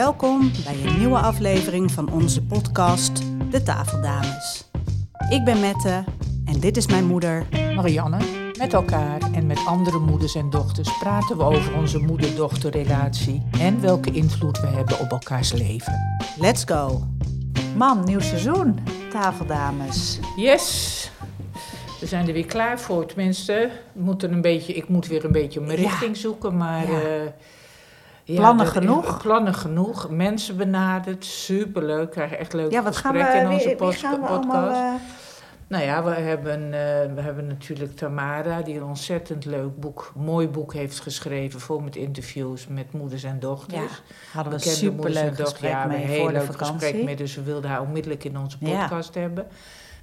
Welkom bij een nieuwe aflevering van onze podcast De Tafeldames. Ik ben Mette en dit is mijn moeder. Marianne, met elkaar en met andere moeders en dochters praten we over onze moeder-dochterrelatie en welke invloed we hebben op elkaars leven. Let's go! Mam, nieuw seizoen. Tafeldames. Yes! We zijn er weer klaar voor, tenminste. We moeten een beetje, ik moet weer een beetje mijn Ja. richting zoeken, maar... Ja. eh, ja, Plannen dat- genoeg? Plannen genoeg. Mensen benaderd. Superleuk. Krijgen echt leuke Ja, wat gaan we, gesprekken wie- in onze wie, pos- gaan we podcast. allemaal... eh, Nou ja, we hebben, eh, we hebben natuurlijk Tamara, die een ontzettend leuk boek, mooi boek heeft geschreven. Vol met interviews met moeders en dochters. Ja, hadden we een Bekende moeders en superleuk dochters. gesprek Ja, we mee hebben een heel voor de leuk gesprek mee. vakantie. Dus we wilden haar onmiddellijk in onze Ja. podcast hebben.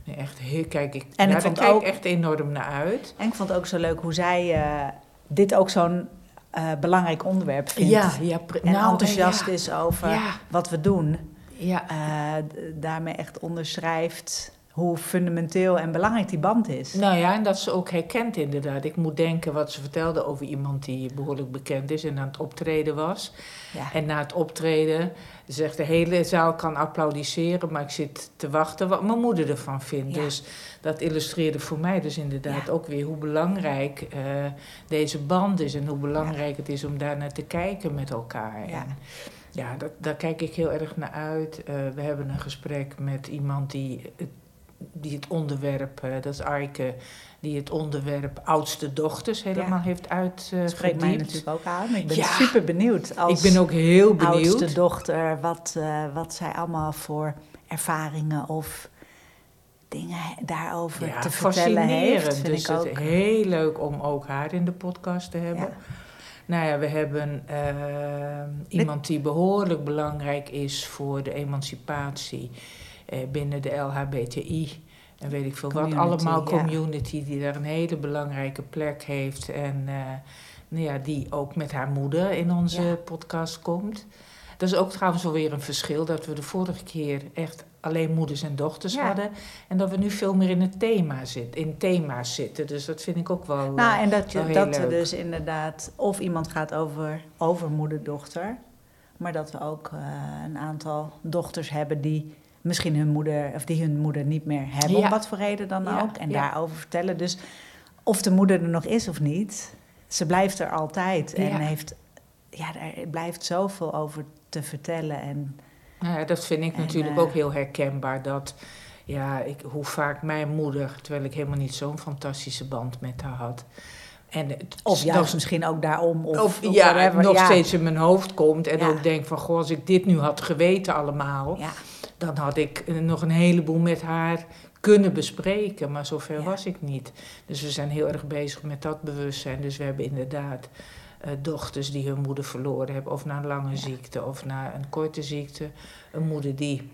Nee, echt heel, kijk, ik, En ja, ik daar vond kijk ik ook- echt enorm naar uit. En ik vond het ook zo leuk hoe zij eh, dit ook zo'n eh, belangrijk onderwerp vindt. ja. pre- En nou, enthousiast ja. is over Ja, wat we doen. ja. Eh, d- daarmee echt onderschrijft hoe fundamenteel en belangrijk die band is. Nou ja, en dat ze ook herkent inderdaad. Ik moet denken wat ze vertelde over iemand die behoorlijk bekend is en aan het optreden was. Ja. En na het optreden zegt de hele zaal kan applaudisseren, maar ik zit te wachten wat mijn moeder ervan vindt. Ja. Dus dat illustreerde voor mij dus inderdaad ook weer hoe belangrijk eh, deze band is en hoe belangrijk het is om daar naar te kijken met elkaar. Ja. En ja dat, daar kijk ik heel erg naar uit. Eh, we hebben een gesprek met iemand die het, die het onderwerp, eh, dat is Aike, die het onderwerp oudste dochters helemaal heeft Dat spreekt mij uitgediept. natuurlijk ook aan. Ik ben Ja. super benieuwd ik als ben ook heel benieuwd. oudste dochter wat, eh, wat zij allemaal voor ervaringen of dingen he- daarover te vertellen heeft. Vind dus ik ook. het is heel leuk om ook haar in de podcast te hebben. Nou ja, we hebben eh, iemand die behoorlijk belangrijk is voor de emancipatie eh, binnen de LHBTI. En weet ik veel Community, wat allemaal ja. community die daar een hele belangrijke plek heeft. En eh, nou ja, die ook met haar moeder in onze Ja. podcast komt. Dat is ook trouwens wel weer een verschil dat we de vorige keer echt alleen moeders en dochters Ja. hadden. En dat we nu veel meer in het thema zitten, in thema's zitten. Dus dat vind ik ook wel. eh, Nou, en dat, wel je, heel dat er leuk. dus inderdaad of iemand gaat over, over moeder-dochter, maar dat we ook eh, een aantal dochters hebben die misschien hun moeder of die hun moeder niet meer hebben, Ja. om wat voor reden dan Ja, ook, en ja. daarover vertellen. Dus of de moeder er nog is of niet, ze blijft er altijd en Ja. heeft, ja, er blijft zoveel over te vertellen en Nou ja, dat vind ik En, natuurlijk eh, ook heel herkenbaar. Dat, ja, ik, hoe vaak mijn moeder, terwijl ik helemaal niet zo'n fantastische band met haar had. En het, of juist Dus nog- misschien ook daarom of, of, of ja, whatever. nog Ja. steeds in mijn hoofd komt. En Ja. ook denk van, goh, als ik dit nu had geweten allemaal. Ja. Dan had ik eh, nog een heleboel met haar kunnen bespreken. Maar zover Ja. was ik niet. Dus we zijn heel erg bezig met dat bewustzijn. Dus we hebben inderdaad eh, dochters die hun moeder verloren hebben. Of na een lange ziekte of na een korte ziekte. Een moeder die.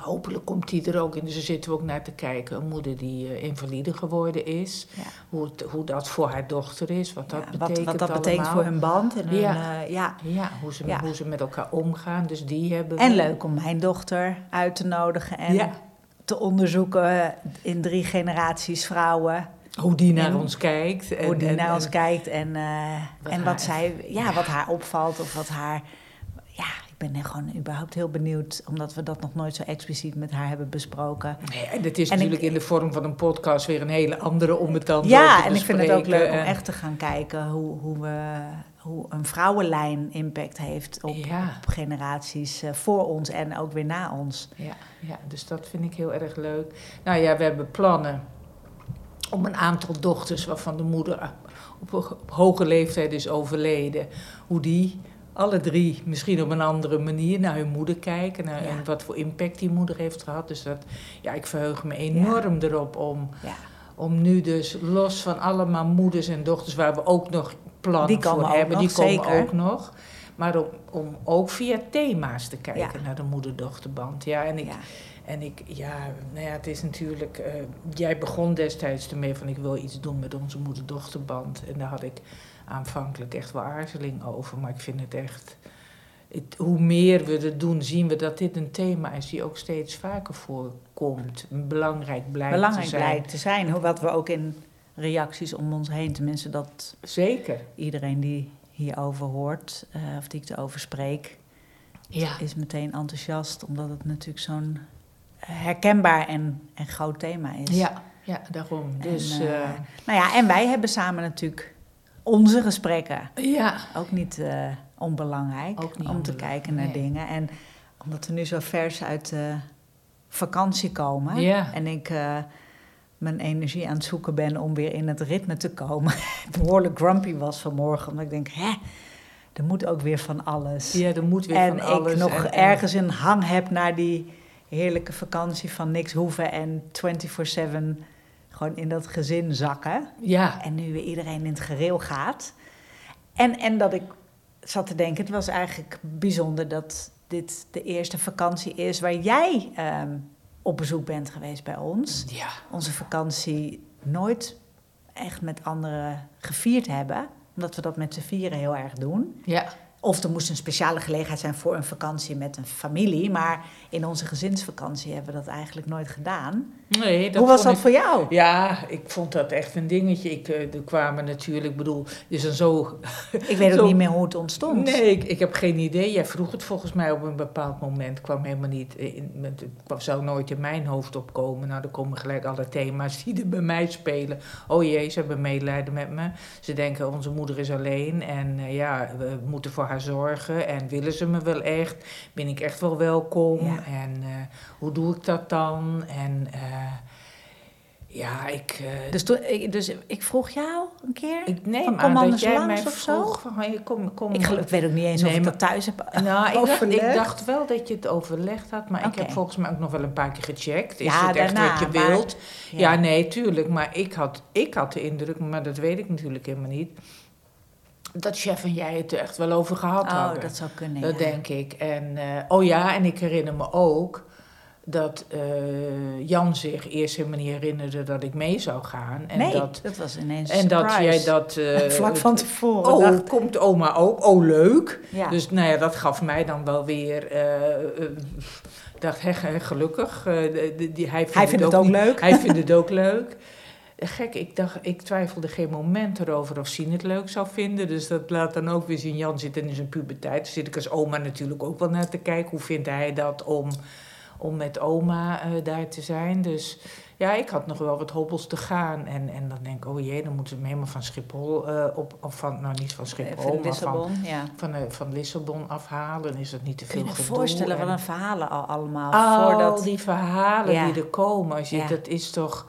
Hopelijk komt die er ook in, dus daar zitten we ook naar te kijken. Een moeder die eh, invalide geworden is. Ja. Hoe, het- hoe dat voor haar dochter is, wat dat Ja, betekent wat, wat dat betekent allemaal. voor hun band en hun, Ja. eh, ja. Ja, hoe ze, Ja. hoe ze met elkaar omgaan. Dus die hebben we. En leuk om mijn dochter uit te nodigen en Ja. te onderzoeken in drie generaties vrouwen. Hoe die naar En ons kijkt. En, hoe die en- naar ons en- kijkt en, eh, Wat en haar- wat, zij, ja, wat haar opvalt of wat haar... Ja, ik ben er gewoon überhaupt heel benieuwd, omdat we dat nog nooit zo expliciet met haar hebben besproken. Nee, en het is En ik- natuurlijk in de vorm van een podcast weer een hele andere om het dan door ja, te en ik vind het ook leuk bespreken. om En- echt te gaan kijken hoe, hoe, we, hoe een vrouwenlijn impact heeft op, Ja. op generaties eh, voor ons en ook weer na ons. Ja, ja, dus dat vind ik heel erg leuk. Nou ja, we hebben plannen om een aantal dochters waarvan de moeder op, op hoge leeftijd is overleden, hoe die alle drie misschien op een andere manier naar hun moeder kijken naar, Ja. en wat voor impact die moeder heeft gehad. Dus dat, ja, ik verheug me enorm erop om, Ja. om nu dus los van allemaal moeders en dochters waar we ook nog plannen Die komen voor ook hebben, nog, die komen zeker. ook nog. Maar om, om ook via thema's te kijken Ja. naar de moeder-dochterband. Ja, en ik, Ja. en ik, ja, nou ja, het is natuurlijk. eh, jij begon destijds ermee van ik wil iets doen met onze moeder-dochterband. En daar had ik aanvankelijk echt wel aarzeling over. Maar ik vind het echt. het- hoe meer we het doen, zien we dat dit een thema is die ook steeds vaker voorkomt. Belangrijk blijkt belangrijk te zijn. blijkt te zijn. Hoe- Wat we ook in reacties om ons heen, tenminste dat Zeker. iedereen die hierover hoort eh, of die ik erover spreek, Ja. is meteen enthousiast, omdat het natuurlijk zo'n herkenbaar en, en groot thema is. Ja, ja, daarom. Dus en, eh, eh, nou ja, en wij hebben samen natuurlijk onze gesprekken. ja, Ook niet eh, onbelangrijk Ook niet om te onbelangrijk, kijken naar nee. dingen. En omdat we nu zo vers uit de vakantie komen Ja. en ik eh, mijn energie aan het zoeken ben om weer in het ritme te komen. Behoorlijk grumpy was vanmorgen, omdat ik denk, hè, er moet ook weer van alles. ja, er moet weer en van ik alles. nog en- en- ergens een hang heb naar die heerlijke vakantie van niks hoeven en 24/7 gewoon in dat gezin zakken. Ja, En nu weer iedereen in het gereel gaat. En, en dat ik zat te denken, het was eigenlijk bijzonder dat dit de eerste vakantie is waar jij ehm, op bezoek bent geweest bij ons. ja, Onze vakantie nooit echt met anderen gevierd hebben, omdat we dat met z'n vieren heel erg doen. ja, Of er moest een speciale gelegenheid zijn voor een vakantie met een familie, maar in onze gezinsvakantie hebben we dat eigenlijk nooit gedaan. nee, dat Hoe was dat vond ik- voor jou? Ja, ik vond dat echt een dingetje. Ik, eh, er kwamen natuurlijk, ik bedoel, dus dan zo Ik weet ook Zo- niet meer hoe het ontstond. Nee, ik, ik heb geen idee. Jij vroeg het volgens mij op een bepaald moment. kwam helemaal niet. In, met- het kwam- zou nooit in mijn hoofd opkomen. Nou, dan komen gelijk alle thema's die er bij mij spelen. Oh jee, ze hebben medelijden met me. Ze denken, onze moeder is alleen. En eh, ja, we moeten voor haar zorgen. En willen ze me wel echt? Ben ik echt wel welkom? Ja. En eh, hoe doe ik dat dan? En eh, ja, ik. eh, Dus, toen, ik, dus ik vroeg jou een keer. Ik, ik neem van, kom aan dat anders jij langs mij of zo? vroeg van, hey, kom, kom. gel- ik weet ook niet eens Nee, of ik maar- dat thuis heb. Nou, ik dacht, ik Overleg? dacht wel dat je het overlegd had, maar ik Oké. heb volgens mij ook nog wel een paar keer gecheckt. Is Ja, het echt daarna, wat je maar- wilt? Ja. nee, tuurlijk. Maar ik had, ik had de indruk, maar dat weet ik natuurlijk helemaal niet, dat chef en jij het er echt wel over gehad Oh, hadden. dat zou kunnen. ja. Dat denk ik. En, eh, oh ja, en ik herinner me ook dat eh, Jan zich eerst helemaal niet herinnerde dat ik mee zou gaan. En nee, dat, dat, was ineens. en dat surprise. jij dat. eh, vlak van tevoren. Oh, dacht- komt oma ook? Oh, leuk. ja. Dus nou ja, dat gaf mij dan wel weer. eh eh, dacht, hè, hè, gelukkig. eh, de- de- die, hij vindt, Hij vindt het ook niet- leuk. Hij vindt het ook leuk. Gek, ik, dacht, ik twijfelde geen moment erover of Sien het leuk zou vinden. Dus dat laat dan ook weer zien. Jan zit in zijn puberteit. Daar zit ik als oma natuurlijk ook wel naar te kijken. Hoe vindt hij dat om, om met oma eh, daar te zijn? Dus ja, ik had nog wel wat hobbels te gaan. En, en dan denk ik, oh jee, dan moeten we hem helemaal van Schiphol eh, op. Of van, nou niet van Schiphol, Even maar van, Lissabon. Ja. van, eh, van Lissabon afhalen is het niet te Kun veel je je gedoe voorstellen en- wat een verhalen al allemaal Al voordat. die verhalen Ja. die er komen, als je, Ja. dat is toch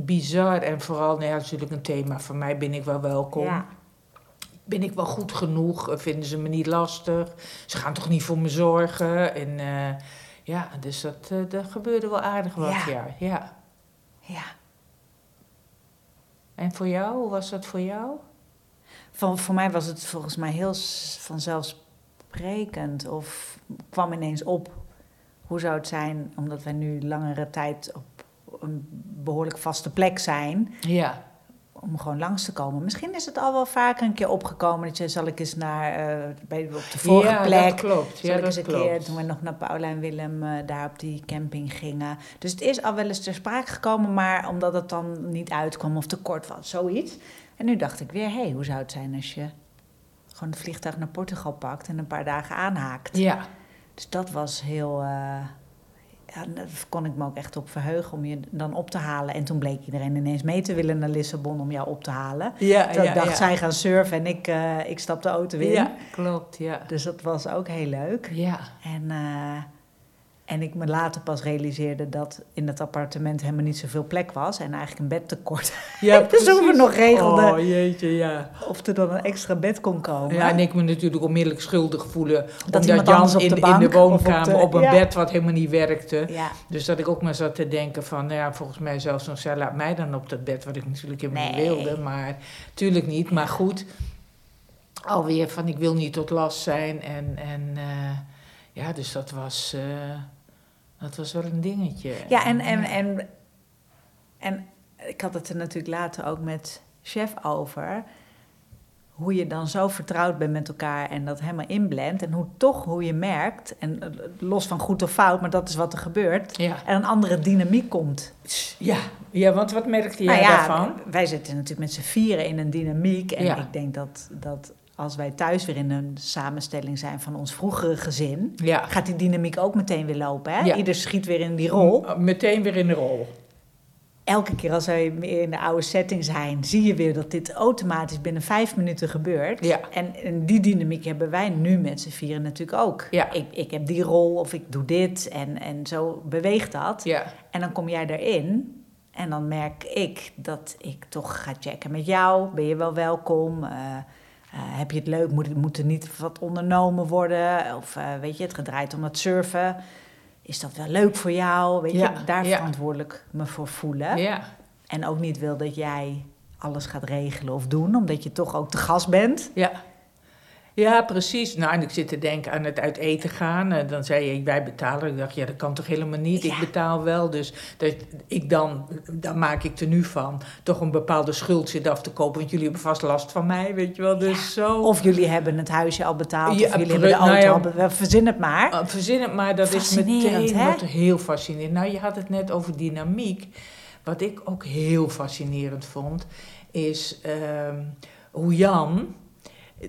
bizar. En vooral, nou ja, natuurlijk een thema van mij, ben ik wel welkom? Ja. Ben ik wel goed genoeg? Eh, Vinden ze me niet lastig? Ze gaan toch niet voor me zorgen? En eh, ja, dus dat, eh, er gebeurde wel aardig wat, Ja. ja. ja. ja. En voor jou, hoe was dat voor jou? Van, voor mij was het volgens mij heel s- vanzelfsprekend of kwam ineens op. Hoe zou het zijn, omdat wij nu langere tijd op een behoorlijk vaste plek zijn, Ja, om gewoon langs te komen. Misschien is het al wel vaker een keer opgekomen dat je zal ik eens naar eh, bij, op de vorige ja, plek. dat klopt. Zal Ja, ik dat eens een klopt. keer toen we nog naar Paula en Willem eh, daar op die camping gingen. Dus het is al wel eens ter sprake gekomen, maar omdat het dan niet uitkwam of te kort was, zoiets. En nu dacht ik weer, hé, hey, hoe zou het zijn als je gewoon het vliegtuig naar Portugal pakt en een paar dagen aanhaakt. Ja, Dus dat was heel. eh, ja, daar kon ik me ook echt op verheugen om je dan op te halen. En toen bleek iedereen ineens mee te willen naar Lissabon om jou op te halen. ja, Toen dacht zij gaan surfen en ik, eh ik stap de auto in. Ja, klopt, ja. Dus dat was ook heel leuk. Ja. En, eh, en ik me later pas realiseerde dat in het appartement helemaal niet zoveel plek was. En eigenlijk een bed tekort. Ja, Dus hoe we precies. nog regelden. Oh jeetje, ja. Of er dan een extra bed kon komen. Ja, en ik me natuurlijk onmiddellijk schuldig voelen. Oh, iemand omdat anders Jan op de in, in bank de of op woonkamer de- op, een ja. bed wat helemaal niet werkte. Ja. Dus dat ik ook maar zat te denken van, nou ja, volgens mij zelfs nog, zij laat mij dan op dat bed, wat ik natuurlijk helemaal niet Nee. wilde. Maar tuurlijk niet, maar goed. Alweer van, ik wil niet tot last zijn. En, en eh, ja, dus dat was, eh, dat was wel een dingetje. Ja, en, en, en, en ik had het er natuurlijk later ook met chef over. Hoe je dan zo vertrouwd bent met elkaar en dat helemaal inblendt. En hoe toch hoe je merkt, en eh, los van goed of fout, maar dat is wat er gebeurt. Ja, Er een andere dynamiek komt. ja. ja want wat merkte jij Nou ja, daarvan? wij zitten natuurlijk met z'n vieren in een dynamiek. En Ja. ik denk dat, dat als wij thuis weer in een samenstelling zijn van ons vroegere gezin, Ja. gaat die dynamiek ook meteen weer lopen. Hè? Ja. Ieder schiet weer in die Oh. rol. Ah, Meteen weer in de rol. Elke keer als wij weer in de oude setting zijn, zie je weer dat dit automatisch binnen vijf minuten gebeurt. Ja. En, en die dynamiek hebben wij nu met z'n vieren natuurlijk ook. Ja. Ik, ik heb die rol of ik doe dit en, en zo beweegt dat. Ja. En dan kom jij daarin en dan merk ik dat ik toch ga checken met jou. Ben je wel welkom? Eh, eh, heb je het leuk? Moet, moet er niet wat ondernomen worden? Of eh, weet je, het gedraait om het surfen. Is dat wel leuk voor jou? Weet Ja, je, daar ja. verantwoordelijk me voor voelen. Ja. En ook niet wil dat jij alles gaat regelen of doen, omdat je toch ook te gast bent. Ja. Ja, precies. Nou, en ik zit te denken aan het uit eten gaan. En dan zei je, wij betalen. Ik dacht, ja, dat kan toch helemaal niet? Ja. Ik betaal wel. Dus dat ik dan, dan maak ik er nu van, toch een bepaalde schuld zit af te kopen. Want jullie hebben vast last van mij, weet je wel. Dus zo. Of jullie hebben het huisje al betaald, Ja, of jullie hebben de nou auto ja. al betaald. Verzin het maar. Eh, Verzin het maar, dat is Fascinerend, meteen hè? wat heel fascinerend. Nou, je had het net over dynamiek. Wat ik ook heel fascinerend vond, is ehm, hoe Jan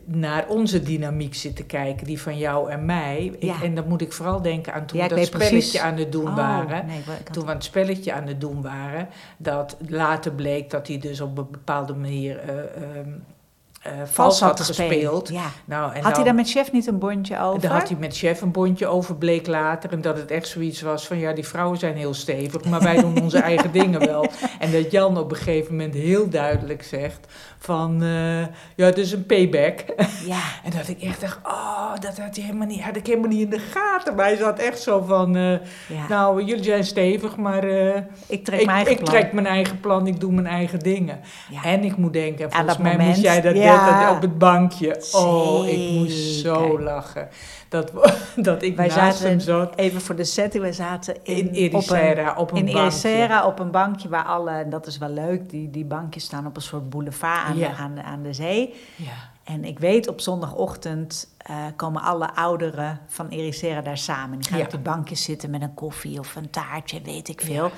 naar onze dynamiek zit te kijken, die van jou en mij. Ik- Ja. en dan moet ik vooral denken aan toen Ja, ik we dat weet spelletje precies. aan het doen Oh, waren. nee, ik wou- ik had- Toen we aan het spelletje aan het doen waren, dat later bleek dat hij dus op een bepaalde manier eh, ehm, eh, vals had gespeeld. Ja. Nou, en Had dan- hij daar met chef niet een bondje over? daar had hij met chef een bondje over, bleek later. En dat het echt zoiets was van, ja, die vrouwen zijn heel stevig, maar wij doen onze eigen dingen wel. En dat Jan op een gegeven moment heel duidelijk zegt van, eh, ja, het is een payback. Ja. En dat ik echt dacht, oh, dat had, hij helemaal niet, had ik helemaal niet in de gaten. Maar hij zat echt zo van, eh, ja. nou, jullie zijn stevig, maar eh, ik trek ik, mijn eigen ik plan. trek mijn eigen plan, ik doe mijn eigen dingen. Ja. En ik moet denken, en Aan volgens dat mij moment, moest jij dat ja. net op het bankje. Oh, ik moest Zeker. zo lachen. Dat, we- dat ik Wij naast zaten hem zat Even voor de setting, we zaten in, in Ericeira op op een, een, in bankje. Ericeira op een bankje waar alle, en dat is wel leuk, die, die bankjes staan op een soort boulevard aan, Ja. aan, aan de zee. Ja. En ik weet, op zondagochtend eh, komen alle ouderen van Ericeira daar samen. Die gaan Ja. op die bankjes zitten met een koffie of een taartje, weet ik veel. Ja.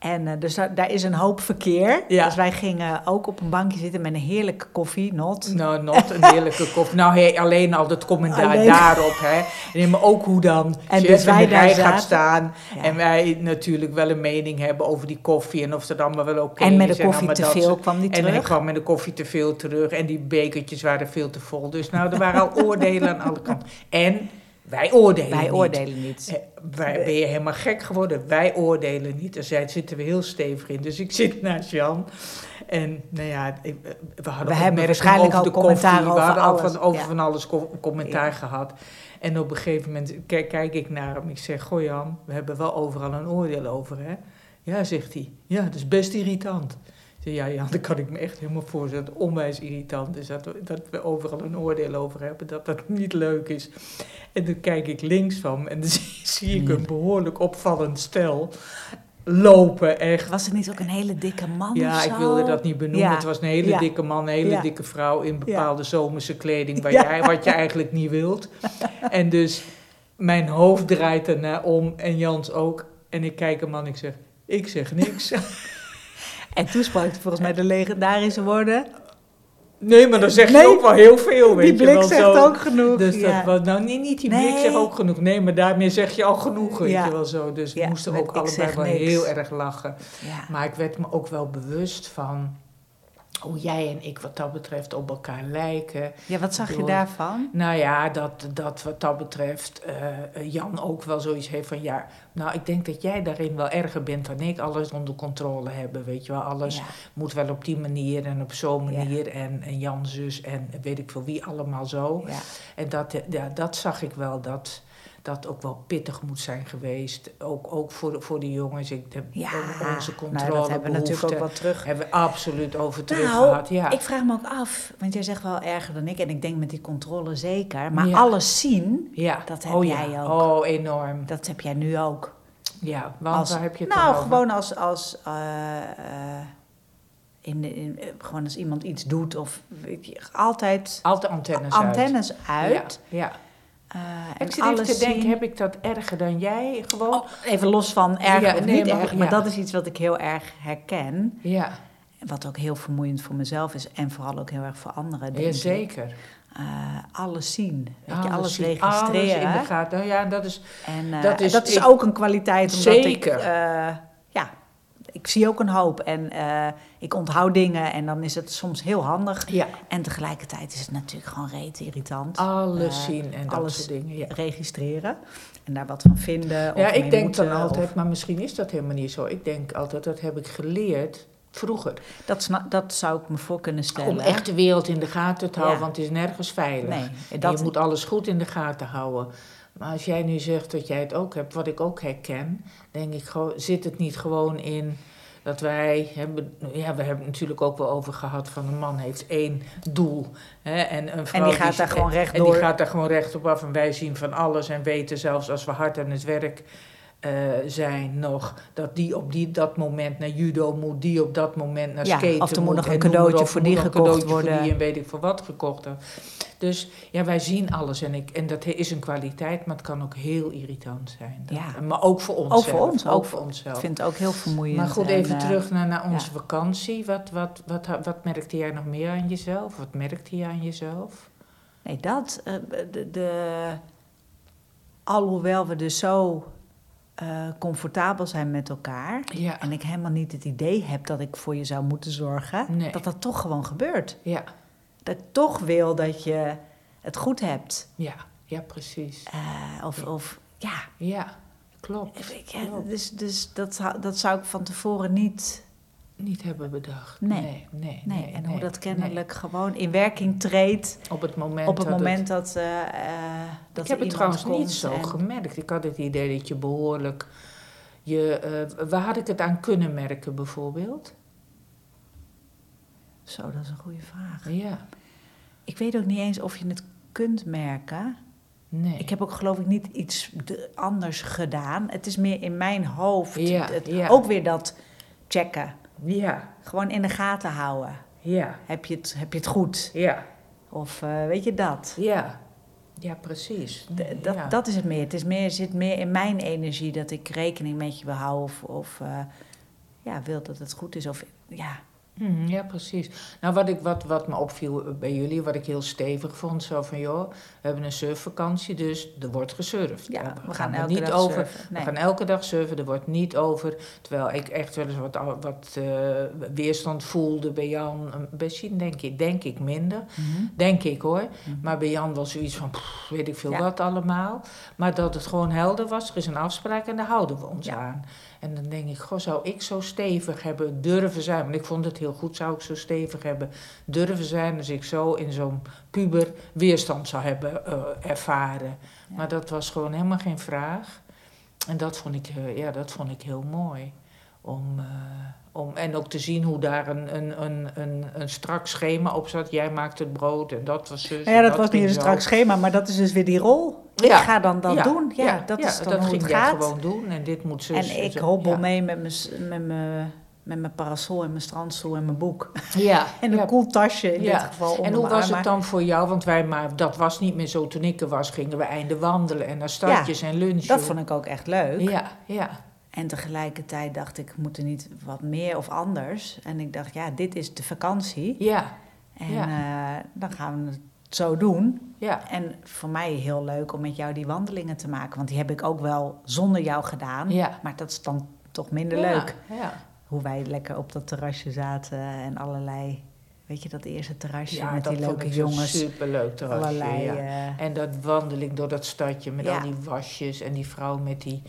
En eh, dus daar, daar is een hoop verkeer. Ja. Dus wij gingen ook op een bankje zitten met een heerlijke koffie, not. Nou, not een heerlijke kop. Nou, hey, alleen al dat commentaar Alleen. daarop, hè. Nee, maar ook hoe dan En en dus wij in de daar rij gaat zaten. staan. Ja. En wij natuurlijk wel een mening hebben over die koffie en of dat allemaal wel oké dus is. en met de koffie allemaal te dat soort- veel kwam die En hij terug. kwam met de koffie te veel terug en die bekertjes waren veel te vol. Dus nou, er waren al oordelen aan alle kanten. En wij oordelen Wij niet. oordelen niet. Eh, Wij, ben je helemaal gek geworden? Wij oordelen niet. En zij zitten we heel stevig in. Dus ik zit naast Jan. En nou ja, ik- eh, we hadden We ook hebben merken waarschijnlijk over al de commentaar koffie. over we hadden al alles, Van, over ja. van alles co- commentaar gehad. En op een gegeven moment kijk, kijk ik naar hem. Ik zeg, goh Jan, we hebben wel overal een oordeel over, hè? Ja, zegt hij. Ja, dat is best irritant. Ik zeg, ja, ja, dat kan ik me echt helemaal voorstellen. Dat het onwijs irritant is dat we, dat we overal een oordeel over hebben. Dat dat niet leuk is. En dan kijk ik links van me en dan zie, zie ik Hmm. een behoorlijk opvallend stel lopen. Echt. Was er niet ook een hele dikke man of Ja, zo? ik wilde dat niet benoemen. Ja. Het was een hele Ja. dikke man, een hele Ja. dikke vrouw in bepaalde zomerse kleding, waar Ja. jij, wat je eigenlijk niet wilt. En dus mijn hoofd draait ernaar om en Jans ook. En ik kijk hem aan en ik zeg, ik zeg niks. En toen sprak hij volgens mij de legendarische woorden. Nee, maar dan zeg je Nee. ook wel heel veel, weet Die je blik wel. zegt zo. ook genoeg. Dus ja. dat was, nou niet, niet die Nee. blik zegt ook genoeg. Nee, maar daarmee zeg je al genoeg, weet Ja. je wel zo. Dus Ja, we moesten met ook ik allebei zeg wel niks. heel erg lachen. ja. Maar ik werd me ook wel bewust van hoe jij en ik wat dat betreft op elkaar lijken. ja, wat zag je Door- daarvan? Nou ja, dat, dat wat dat betreft eh, Jan ook wel zoiets heeft van... ja, nou ik denk dat jij daarin wel erger bent dan ik. Alles onder controle hebben, weet je wel. Alles Ja. moet wel op die manier en op zo'n Ja. manier. En, en Jan zus en weet ik veel wie allemaal zo. Ja. En dat, eh, ja, dat zag ik wel, dat dat ook wel pittig moet zijn geweest. Ook, ook voor, de- voor de jongens. Ik, de, Ja. Onze nou, dat hebben we natuurlijk ook controlebehoeften wel terug. hebben we absoluut over terug Nou, gehad. Ja. Ik vraag me ook af, want jij zegt wel erger dan ik. En ik denk met die controle zeker. Maar Ja. alles zien, ja. dat heb oh, jij ja. ook. Oh, enorm. dat heb jij nu ook. Ja, want Als- waar heb je het Nou, dan gewoon als, als, eh, eh, in, de- in- eh, gewoon als iemand iets doet of weet je, altijd Altijd antennes uit. antennes uit. Ja, ja. eh, en Ik zit even alles te denken, zien. heb ik dat erger dan jij gewoon? Oh, even los van erg Ja, of nee, niet maar- erg, maar ja. dat is iets wat ik heel erg herken. Ja, Wat ook heel vermoeiend voor mezelf is en vooral ook heel erg voor anderen. denk ik. zeker. eh, alles zien. Weet je, Alles alles zien, registreren. Alles in de gaten. Nou ja, dat is... En eh, en Dat dat is- is, ik- ook een kwaliteit. Omdat Zeker. Ik, eh, ja, ik zie ook een hoop en eh, ik onthoud dingen en dan is het soms heel handig. Ja. En tegelijkertijd is het natuurlijk gewoon reet irritant. Alles Eh, zien en dat alles soort dingen, ja. Registreren en daar wat van vinden. Ja, of mee ik denk moeten, dan of- altijd, maar misschien is dat helemaal niet zo. Ik denk altijd, dat heb ik geleerd vroeger. dat, sna- dat zou ik me voor kunnen stellen. Om echt de wereld in de gaten te houden, Ja. want het is nergens veilig. Nee, En dat, Je moet alles goed in de gaten houden. Maar als jij nu zegt dat jij het ook hebt, wat ik ook herken, denk ik, gewoon, zit het niet gewoon in dat wij hebben, ja, we hebben het natuurlijk ook wel over gehad van een man heeft één doel. Hè, en, een vrouw die gaat daar gewoon En rechtdoor. die gaat daar gewoon recht op af en wij zien van alles en weten zelfs als we hard aan het werk eh, zijn nog, dat die op die, dat moment naar judo moet, die op dat moment naar Ja, skaten of er moet nog een en noem maar cadeautje op, voor er moet die nog een gekocht cadeautje voor worden. die en weet ik voor wat gekocht. hebben. Dus ja, wij zien alles en, ik, en dat he- is een kwaliteit, maar het kan ook heel irritant zijn. Dat- Ja. Maar ook voor onszelf. Ook voor ons, Ook ook voor ik onszelf. vind het ook heel vermoeiend. Maar goed, en, even eh, terug naar, naar onze vakantie. Wat, wat, wat, ha- wat merkte jij nog meer aan jezelf? Wat merkte je aan jezelf? Nee, dat. eh, de, de- alhoewel we dus zo eh, comfortabel zijn met elkaar. Ja. En ik helemaal niet het idee heb dat ik voor je zou moeten zorgen. Nee. Dat dat toch gewoon gebeurt. Ja, Dat ik toch wil dat je het goed hebt. ja, ja precies. Eh, of, of ja. Ja, klopt. ik- ja, klopt. dus, dus dat, zou- dat zou ik van tevoren niet. Niet hebben bedacht. Nee, Nee. nee, nee. Nee, en hoe nee, dat kennelijk gewoon in werking treedt. nee. Op het moment op het dat moment dat. eh, eh, dat ik er heb iemand het trouwens niet komt zo en- gemerkt. Ik had het idee dat je behoorlijk. Je, eh, waar had ik het aan kunnen merken, bijvoorbeeld? Zo, dat is een goede vraag. Ja, Ik weet ook niet eens of je het kunt merken. nee. Ik heb ook geloof ik niet iets de- anders gedaan. Het is meer in mijn hoofd. Ja, Het- ja. Ook weer dat checken. Ja, Gewoon in de gaten houden. ja, Heb je het, heb je het goed? ja, Of eh, weet je dat? ja. Ja, precies. D- Nee, dat, ja. dat is het meer. Het is meer, zit meer in mijn energie dat ik rekening met je wil houden. Of, of eh, ja, wil dat het goed is. Of ja, Mhm, ja, precies. Nou, wat, ik, wat, wat me opviel eh, bij jullie, wat ik heel stevig vond, zo van joh, we hebben een surfvakantie, dus er wordt gesurfd. ja Nou, we, gaan er elke niet dag over. surfen. Nee. We gaan elke dag surfen, er wordt niet over. Terwijl ik echt wel eens wat, wat eh, weerstand voelde bij Jan. Bij Sien denk ik, denk ik minder. Mhm. Denk ik hoor. Mhm. Maar bij Jan was zoiets van, pff, weet ik veel Ja. wat allemaal. Maar dat het gewoon helder was, er is een afspraak en daar houden we ons Ja. aan. En dan denk ik, goh, zou ik zo stevig hebben durven zijn? Want ik vond het heel goed, zou ik zo stevig hebben durven zijn... als ik zo in zo'n puber weerstand zou hebben eh, ervaren. Ja. Maar dat was gewoon helemaal geen vraag. En dat vond ik, eh, ja, dat vond ik heel mooi. Om, eh, om, en ook te zien hoe daar een, een, een, een, een strak schema op zat. Jij maakt het brood en Dus dat was zus. Nou en Ja, dat, was ging niet een zo. strak schema, maar dat is dus weer die rol. Ja. Ik ga dan dat Ja, doen. Ja, dat ja, is dan dat hoe ging het jij gaat. gewoon doen en dit moet zus. en ik zo. hobbel ja. mee met mijn, s- met, mijn, eh, met mijn parasol en mijn strandstoel en mijn boek. Ja, En een ja. koel tasje in Ja. dit geval onder En hoe mijn was arm, het maar- dan voor jou? Want wij, maar dat was niet meer zo toen ik er was. Gingen we einde wandelen en naar stadjes en lunchen. Dat vond ik ook echt leuk. Ja, ja, En tegelijkertijd dacht ik, moet er niet wat meer of anders? En ik dacht, ja, dit is de vakantie. ja, En eh, dan gaan we het zo doen. ja. En voor mij heel leuk om met jou die wandelingen te maken. Want die heb ik ook wel zonder jou gedaan. Ja. Maar dat is dan toch minder Ja, leuk. Ja. hoe wij lekker op dat terrasje zaten en allerlei. Weet je dat eerste terrasje Ja, met dat die leuke vond ik zo'n jongens? Superleuk terrasje. Allerlei. ja. eh, En dat wandeling door dat stadje met Ja. al die wasjes en die vrouw met die,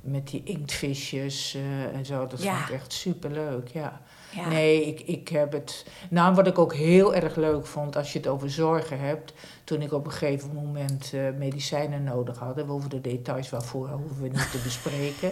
met die inktvisjes eh, en zo. Dat Ja. vond ik echt superleuk, ja. ja. Nee, ik, ik heb het... Nou, wat ik ook heel erg leuk vond, als je het over zorgen hebt... toen ik op een gegeven moment eh, medicijnen nodig had... en we hoeven de details waarvoor hoeven we niet te bespreken...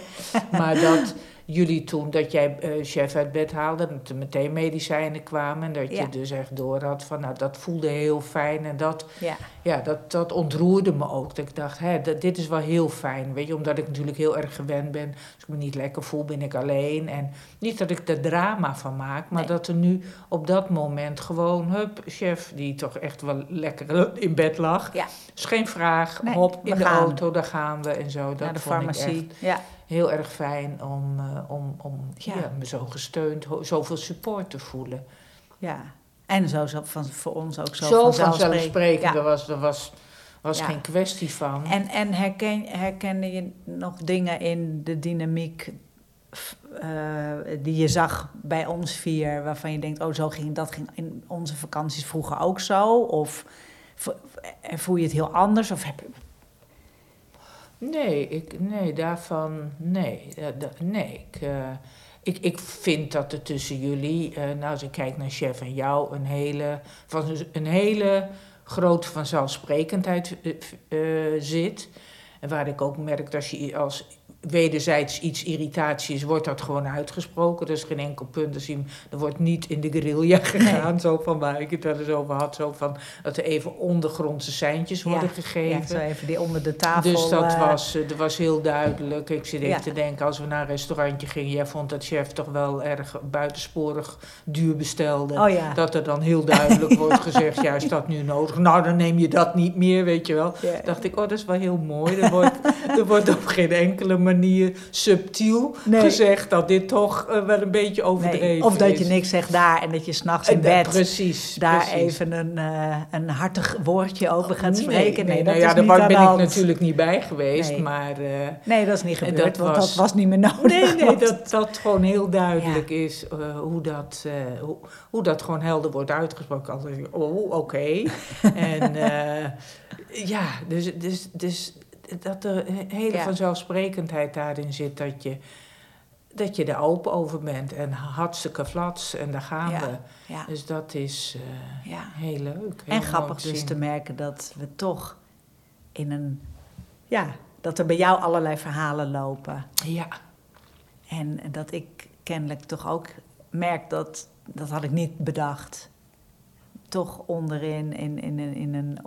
maar dat jullie toen, dat jij eh, chef uit bed haalde... dat er meteen medicijnen kwamen... en dat je Ja. dus echt door had van... nou, dat voelde heel fijn en dat ja. ja, dat, dat ontroerde me ook. Dat ik dacht, hè, dat, dit is wel heel fijn. Weet je, omdat ik natuurlijk heel erg gewend ben. Als ik me niet lekker voel, ben ik alleen. En niet dat ik er drama van maak, maar Nee. dat er nu op dat moment gewoon, hup, chef, die toch echt wel lekker in bed lag. Ja. Dus geen vraag, Nee, hop, we in de gaan. auto, daar gaan we en zo. Dat Naar de vond ik farmacie. echt Ja. heel erg fijn om, eh, om, om ja. Ja. me zo gesteund, ho- zoveel support te voelen. ja. En zo, zo van, voor ons ook zo, Zo vanzelfsprekend. vanzelfsprekend, Ja. er was, er was, was Ja. geen kwestie van. En, en herken, herkende je nog dingen in de dynamiek f- eh, die je zag bij ons vier, waarvan je denkt, oh, zo ging dat ging in onze vakanties vroeger ook zo? Of vo- en voel je het heel anders? Of heb, Nee, ik, nee, daarvan nee. Ja, da- nee, ik, eh, ik, ik vind dat er tussen jullie, eh, nou als ik kijk naar Chef en jou, een hele, van, een hele grote vanzelfsprekendheid eh, eh, zit. En waar ik ook merk dat als je i- als wederzijds iets irritatie is, wordt dat gewoon uitgesproken. Dus geen enkel punt. Dus je- er wordt niet in de guerrilla gegaan, zo van waar ik het wel eens over had. Zo van dat er even ondergrondse seintjes Ja, worden ja, gegeven. zo even die onder de tafel. Dus dat, eh, was, eh, dat was heel duidelijk. Ik zit even Ja. te denken, als we naar een restaurantje gingen... jij vond dat chef toch wel erg buitensporig duur bestelde. Oh ja. Dat er dan heel duidelijk wordt gezegd, ja, is dat nu nodig? Nou, dan neem je dat niet meer, weet je wel. Ja. dacht ik, oh, dat is wel heel mooi. Er wordt, er wordt op geen enkele manier subtiel Nee. gezegd... dat dit toch eh, wel een beetje overdreven Nee, is. Of dat je niks zegt daar en dat je s'nachts in Eh, eh, bed Precies, daar precies. even een, eh, een hartig woordje over gaat Nee, spreken. Nee, nee, dat nou ja, is daar niet aan ben de ik hand. natuurlijk niet bij geweest, Nee. maar... eh, Nee, dat is niet En gebeurd, dat want dat was- was niet meer nodig. Oh, Nee, nee, want- dat, dat gewoon heel duidelijk is eh, hoe, dat, eh, hoe, hoe dat gewoon helder wordt uitgesproken. Als ik, oh, oké. en eh, ja, dus, dus, dus dat er een hele Ja. vanzelfsprekendheid daarin zit dat je, dat je er open over bent. En hartstikke flats en daar gaan Ja. we. Ja, Dus dat is eh, ja. heel leuk. heel En grappig mooi te dus zien. te merken dat we toch in een... Ja, dat er bij jou allerlei verhalen lopen. Ja, En dat ik kennelijk toch ook merk dat... Dat had ik niet bedacht. Toch onderin, in, in, in, in een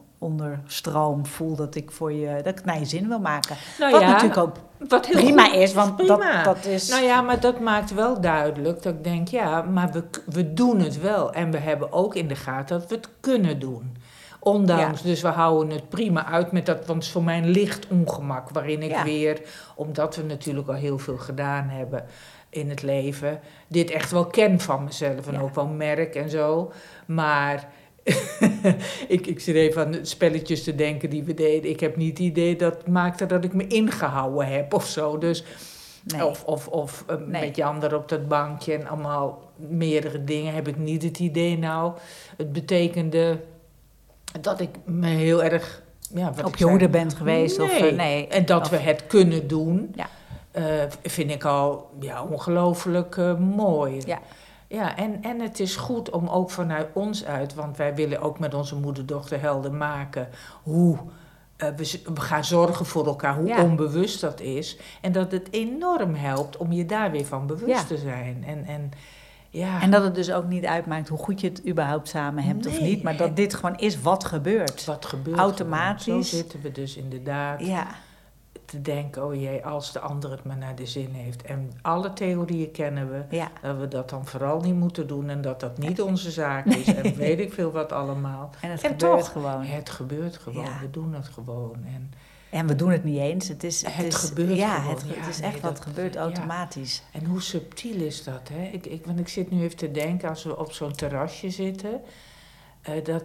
onderstroom voel dat ik voor je... Dat ik naar je zin wil maken. Nou Wat ja, natuurlijk ook wat heel prima goed is, want prima. Dat, dat is... Nou ja, maar dat maakt wel duidelijk dat ik denk, ja, maar we, k- we doen het wel. En we hebben ook in de gaten dat we het kunnen doen. Ondanks, dus we houden het prima uit met dat, want het is voor mij een licht ongemak. Waarin ik Ja. weer, omdat we natuurlijk al heel veel gedaan hebben in het leven, dit echt wel ken van mezelf. En Ja. ook wel merk en zo. Maar ik, ik zit even aan de spelletjes te denken die we deden. Ik heb niet het idee dat maakte dat ik me ingehouden heb of zo. Dus nee. of of, of eh, Nee. met je ander op dat bankje en allemaal meerdere dingen heb ik niet het idee nou. Het betekende dat ik me heel erg... Ja, wat op ik je zei, hoede bent geweest of... eh, Nee. nee. En dat Of- we het kunnen doen, Ja. eh, vind ik al ja, ongelooflijk eh, mooi. Ja. Ja, en, en het is goed om ook vanuit ons uit, want wij willen ook met onze moeder-dochter helder maken hoe eh, we, z- we gaan zorgen voor elkaar, hoe Ja. onbewust dat is. En dat het enorm helpt om je daar weer van bewust Ja. te zijn. En, en, ja. En dat het dus ook niet uitmaakt hoe goed je het überhaupt samen hebt of Nee. niet, maar dat dit gewoon is wat gebeurt. wat gebeurt automatisch- gewoon. Zo zitten we dus inderdaad Ja, te denken, oh jee, als de ander het maar naar de zin heeft. En alle theorieën kennen we. ja. Dat we dat dan vooral niet moeten doen en dat dat niet onze zaak is en weet ik veel wat allemaal. En het En gebeurt toch. gewoon. Het gebeurt gewoon, Ja. we doen het gewoon. En, En we doen het niet eens. Het, is, Het is- gebeurt ja, gewoon. Het, het Ja, is nee, echt wat dat- gebeurt ja. automatisch. en hoe subtiel is dat, hè? Ik, ik, want ik zit nu even te denken, als we op zo'n terrasje zitten, eh, dat...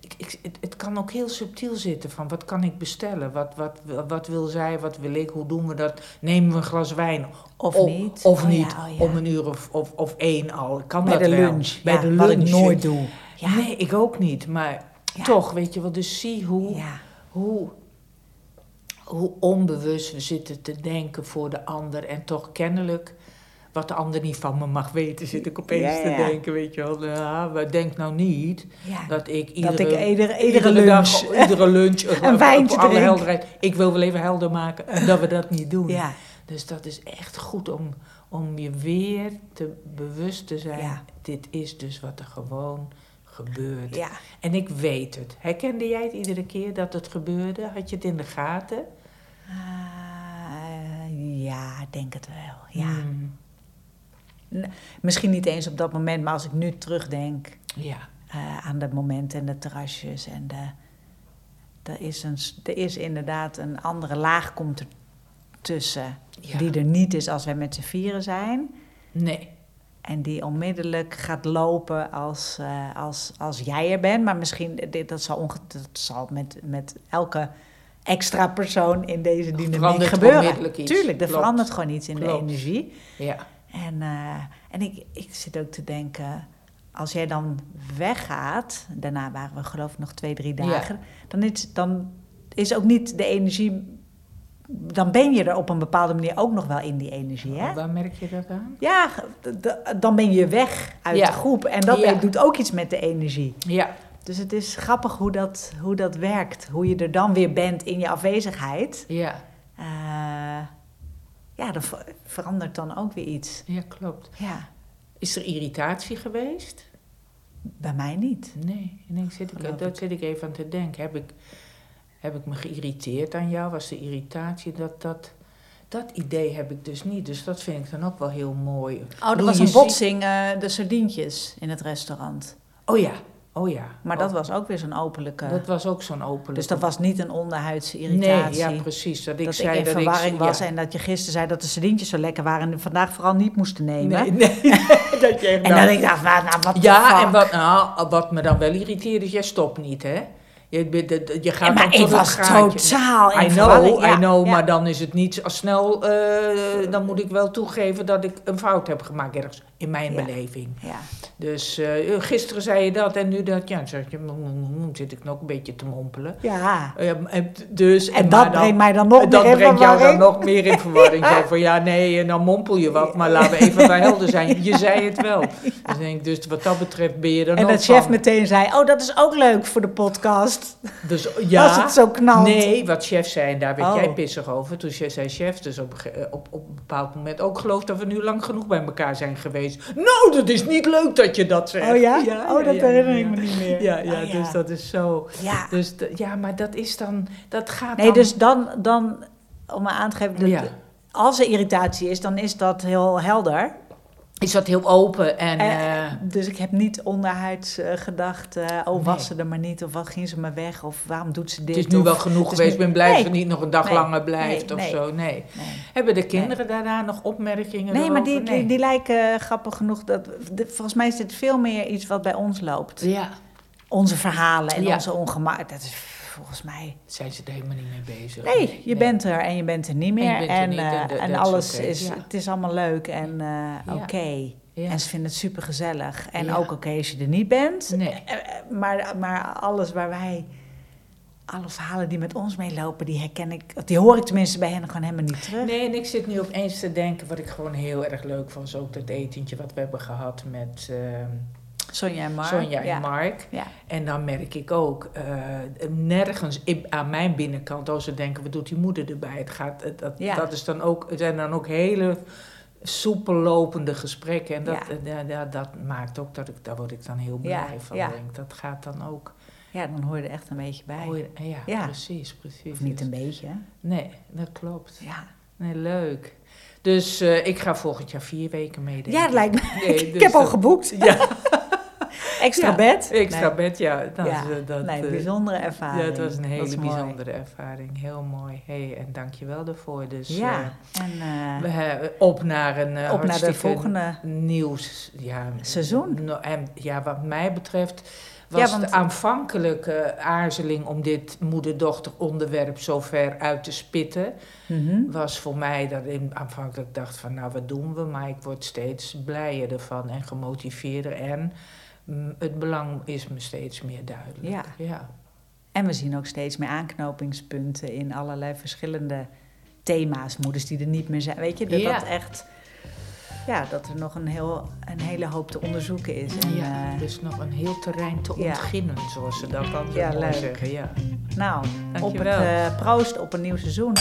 Ik, ik, het, het kan ook heel subtiel zitten van wat kan ik bestellen, wat, wat, wat wil zij, wat wil ik, hoe doen we dat, nemen we een glas wijn Of O- niet. Of Oh ja, niet, oh ja. om een uur of, of, of één al. Kan Bij dat de wel? lunch. Bij ja, de lunch. Wat ik nooit doe. Ja. Nee, ik ook niet. Maar Ja. toch, weet je wel. Dus zie hoe, Ja. hoe, hoe onbewust we zitten te denken voor de ander. En toch kennelijk, wat de ander niet van me mag weten, zit ik opeens Ja, te ja. denken. Weet je wel, ja, maar denk nou niet Ja. dat ik iedere... Dat ik iedere, iedere, lunch. dag, iedere lunch, Een wijntje op alle drink. helderheid. Ik wil wel even helder maken dat we dat niet doen. ja. Dus dat is echt goed om, om je weer te bewust te zijn. Ja. Dit is dus wat er gewoon gebeurt. Ja. En ik weet het. Herkende jij het iedere keer dat het gebeurde? Had je het in de gaten? Ah, ja, ik denk het wel. Ja. Hmm. Misschien niet eens op dat moment, maar als ik nu terugdenk. Ja. eh, aan de momenten en de terrasjes. En de, er, is een, s- er is inderdaad een andere laag komt er tussen. Ja. Die er niet is als wij met z'n vieren zijn. Nee. En die onmiddellijk gaat lopen als, eh, als, als jij er bent. Maar misschien, eh, dit, dat zal, onge- dat zal met, met elke extra persoon in deze Er dynamiek verandert gebeuren. onmiddellijk iets. Tuurlijk, er Klopt. verandert gewoon iets in Klopt. de energie. Ja. En, eh, en ik, ik zit ook te denken, als jij dan weggaat, daarna waren we geloof ik nog twee, drie Ja. dagen, dan, is, dan is ook niet de energie, dan ben je er op een bepaalde manier ook nog wel in die energie. Hè? Waar merk je dat aan? Ja, d- d- dan ben je weg uit Ja. de groep. En dat Ja. doet ook iets met de energie. Ja, Dus het is grappig hoe dat, hoe dat werkt. Hoe je er dan weer bent in je afwezigheid. ja, Eh, ja, dan ver- verandert dan ook weer iets. ja, klopt. Ja, Is er irritatie geweest? bij mij niet. Nee, ik denk, zit Geloof ik, dat zit ik even aan te denken. Heb ik, heb ik me geïrriteerd aan jou? Was de irritatie dat dat... Dat idee heb ik dus niet, dus dat vind ik dan ook wel heel mooi. Oh, Doe er was je een ziek- botsing, eh, de sardientjes in het restaurant. Oh ja, oh ja. Maar Oh, dat was ook weer zo'n openlijke... dat was ook zo'n open. dus dat was niet een onderhuidse irritatie. Nee, ja, precies. Dat ik dat ik zei in dat verwarring ik, was ja. en dat je gisteren zei dat de sardientjes zo lekker waren... en die vandaag vooral niet moesten nemen. Nee, nee, dat jij En dan denk ik, nou, nou, wat de Ja, fuck? en wat, nou, wat me dan wel irriteert is, jij stopt niet, hè? Je, bent- dat- dat- je gaat Ja, dan maar tot ik het was gaatje. totaal in I verwarring, know, ja, I know, ja. maar dan is het niet zo snel... eh, dan moet ik wel toegeven dat ik een fout heb gemaakt ergens, in mijn Ja. beleving. Ja. Dus eh, gisteren zei je dat en nu dat. Ja, dan zeg je, mm, mm, mm, zit ik nog een beetje te mompelen. ja. Ja, en dus, En maar dat dan- brengt mij dan nog dat meer in brengt jou dan verwarring. nog meer in verwarring. Zo van ja, nee, eh, nou mompel je wat, maar laten we even bij helder zijn. Je zei het wel. Dus, ik denk, dus wat dat betreft ben je dan En ook dat chef van- meteen zei, oh, dat is ook leuk voor de podcast. Dus ja, Als het zo knalt. nee, wat chef zei, en daar werd Oh. jij pissig over. Toen chef zei chef, dus op, een ge- eh, op, op een bepaald moment ook geloof dat we nu lang genoeg bij elkaar zijn geweest. Nou, dat is niet leuk dat je dat zegt. Oh ja? oh, dat ja, herinner ja, ik me niet ja. meer. Ja, ja, Oh, dus dat is zo. Ja. Dus d- ja, maar dat is dan, dat gaat Nee, dan- dus dan, dan om me aan te geven, dat Ja. als er irritatie is, dan is dat heel helder. is dat heel open en... Eh, eh, dus ik heb niet onderhuids eh, gedacht, eh, oh, was ze er maar niet, of wat ging ze maar weg, of waarom doet ze dit? Het is nu of- wel genoeg het is geweest. Ik nu- ben blij dat Nee. ze niet nog een dag Nee. langer blijft Nee, of nee. zo. Nee. Nee. Hebben de kinderen daarna nog opmerkingen? Nee, maar die, erover? die, die lijken eh, grappig genoeg. Dat, de- volgens mij is dit veel meer iets wat bij ons loopt. Ja, Onze verhalen en Ja. onze ongemak. Dat is volgens mij. zijn ze er helemaal niet mee bezig. Nee, je bent er en je bent er niet meer. bent En, er niet en eh, dat- en dat is alles oké, is. ja. Het is allemaal leuk en eh, oké. Ja. En ze vinden het super gezellig. En Ja. ook oké als je er niet bent. Nee. Eh, eh, Maar, maar alles waar wij. Alle verhalen die met ons meelopen, die herken ik. of Die hoor ik tenminste bij hen gewoon helemaal niet terug. Nee, en ik zit nu opeens te denken, wat ik gewoon heel erg leuk vond, is ook dat etentje wat we hebben gehad met ehm, Sonja en Mark. Sonja en ja. Mark. Ja. En dan merk ik ook, eh, nergens in- aan mijn binnenkant, als ze denken, wat doet die moeder erbij? Het gaat, het- dat, Ja. dat is dan ook, het zijn dan ook hele soepel lopende gesprekken. En dat, Ja. eh, ja, ja, dat maakt ook dat ik, daar word ik dan heel Ja, blij van. ja. Denk. Dat gaat dan ook. ja, dan hoor je er echt een beetje bij. Hoor je- ja, Ja. precies, precies. Of niet een beetje. hè? Nee, dat klopt. Ja, Nee, leuk. Dus eh, ik ga volgend jaar vier weken meedoen. ja dat lijkt me. Nee, ik dus heb al dat- geboekt. Ja, Extra Ja, bed. extra Nee. bed, ja. Nou, Ja, ze- dat, nee, eh, bijzondere ja, ervaring. het was een Dat is hele mooi. bijzondere ervaring. Heel mooi. Hey, en dankjewel daarvoor. Dus Ja, en eh, eh, we, eh, op naar een eh, op naar de hartstikke volgende. nieuws. Ja, Seizoen. Nou, en, ja, wat mij betreft was Ja, want- de aanvankelijke aarzeling om dit moeder-dochter onderwerp zo ver uit te spitten. Mhm. was voor mij dat ik aanvankelijk dacht van nou wat doen we, maar ik word steeds blijer ervan en gemotiveerder en mm, het belang is me steeds meer duidelijk. Ja. ja. En we zien ook steeds meer aanknopingspunten in allerlei verschillende thema's. Moeders die er niet meer zijn. Weet je, dat, Ja. dat echt. Ja, dat er nog een, heel, een hele hoop te onderzoeken is. En, ja. eh, Dus nog een heel terrein te ja. ontginnen, zoals ze dat dan zo Ja, mooi leuk. zeggen. Ja. nou, op het, Dankjewel. eh, proost op een nieuw seizoen.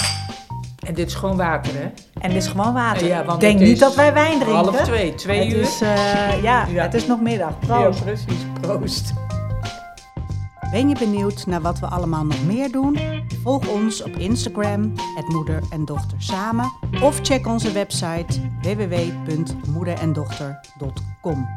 En dit is gewoon water, hè? En dit is gewoon water. Ja, want Denk het niet is dat wij wijn drinken. Half twee, twee het uur. Is, eh, ja, Ja. het is nog middag. Ja, Proost. precies. Proost. Ben je benieuwd naar wat we allemaal nog meer doen? Volg ons op Instagram, het Moeder en Dochter Samen. Of check onze website www.moederendochter.com.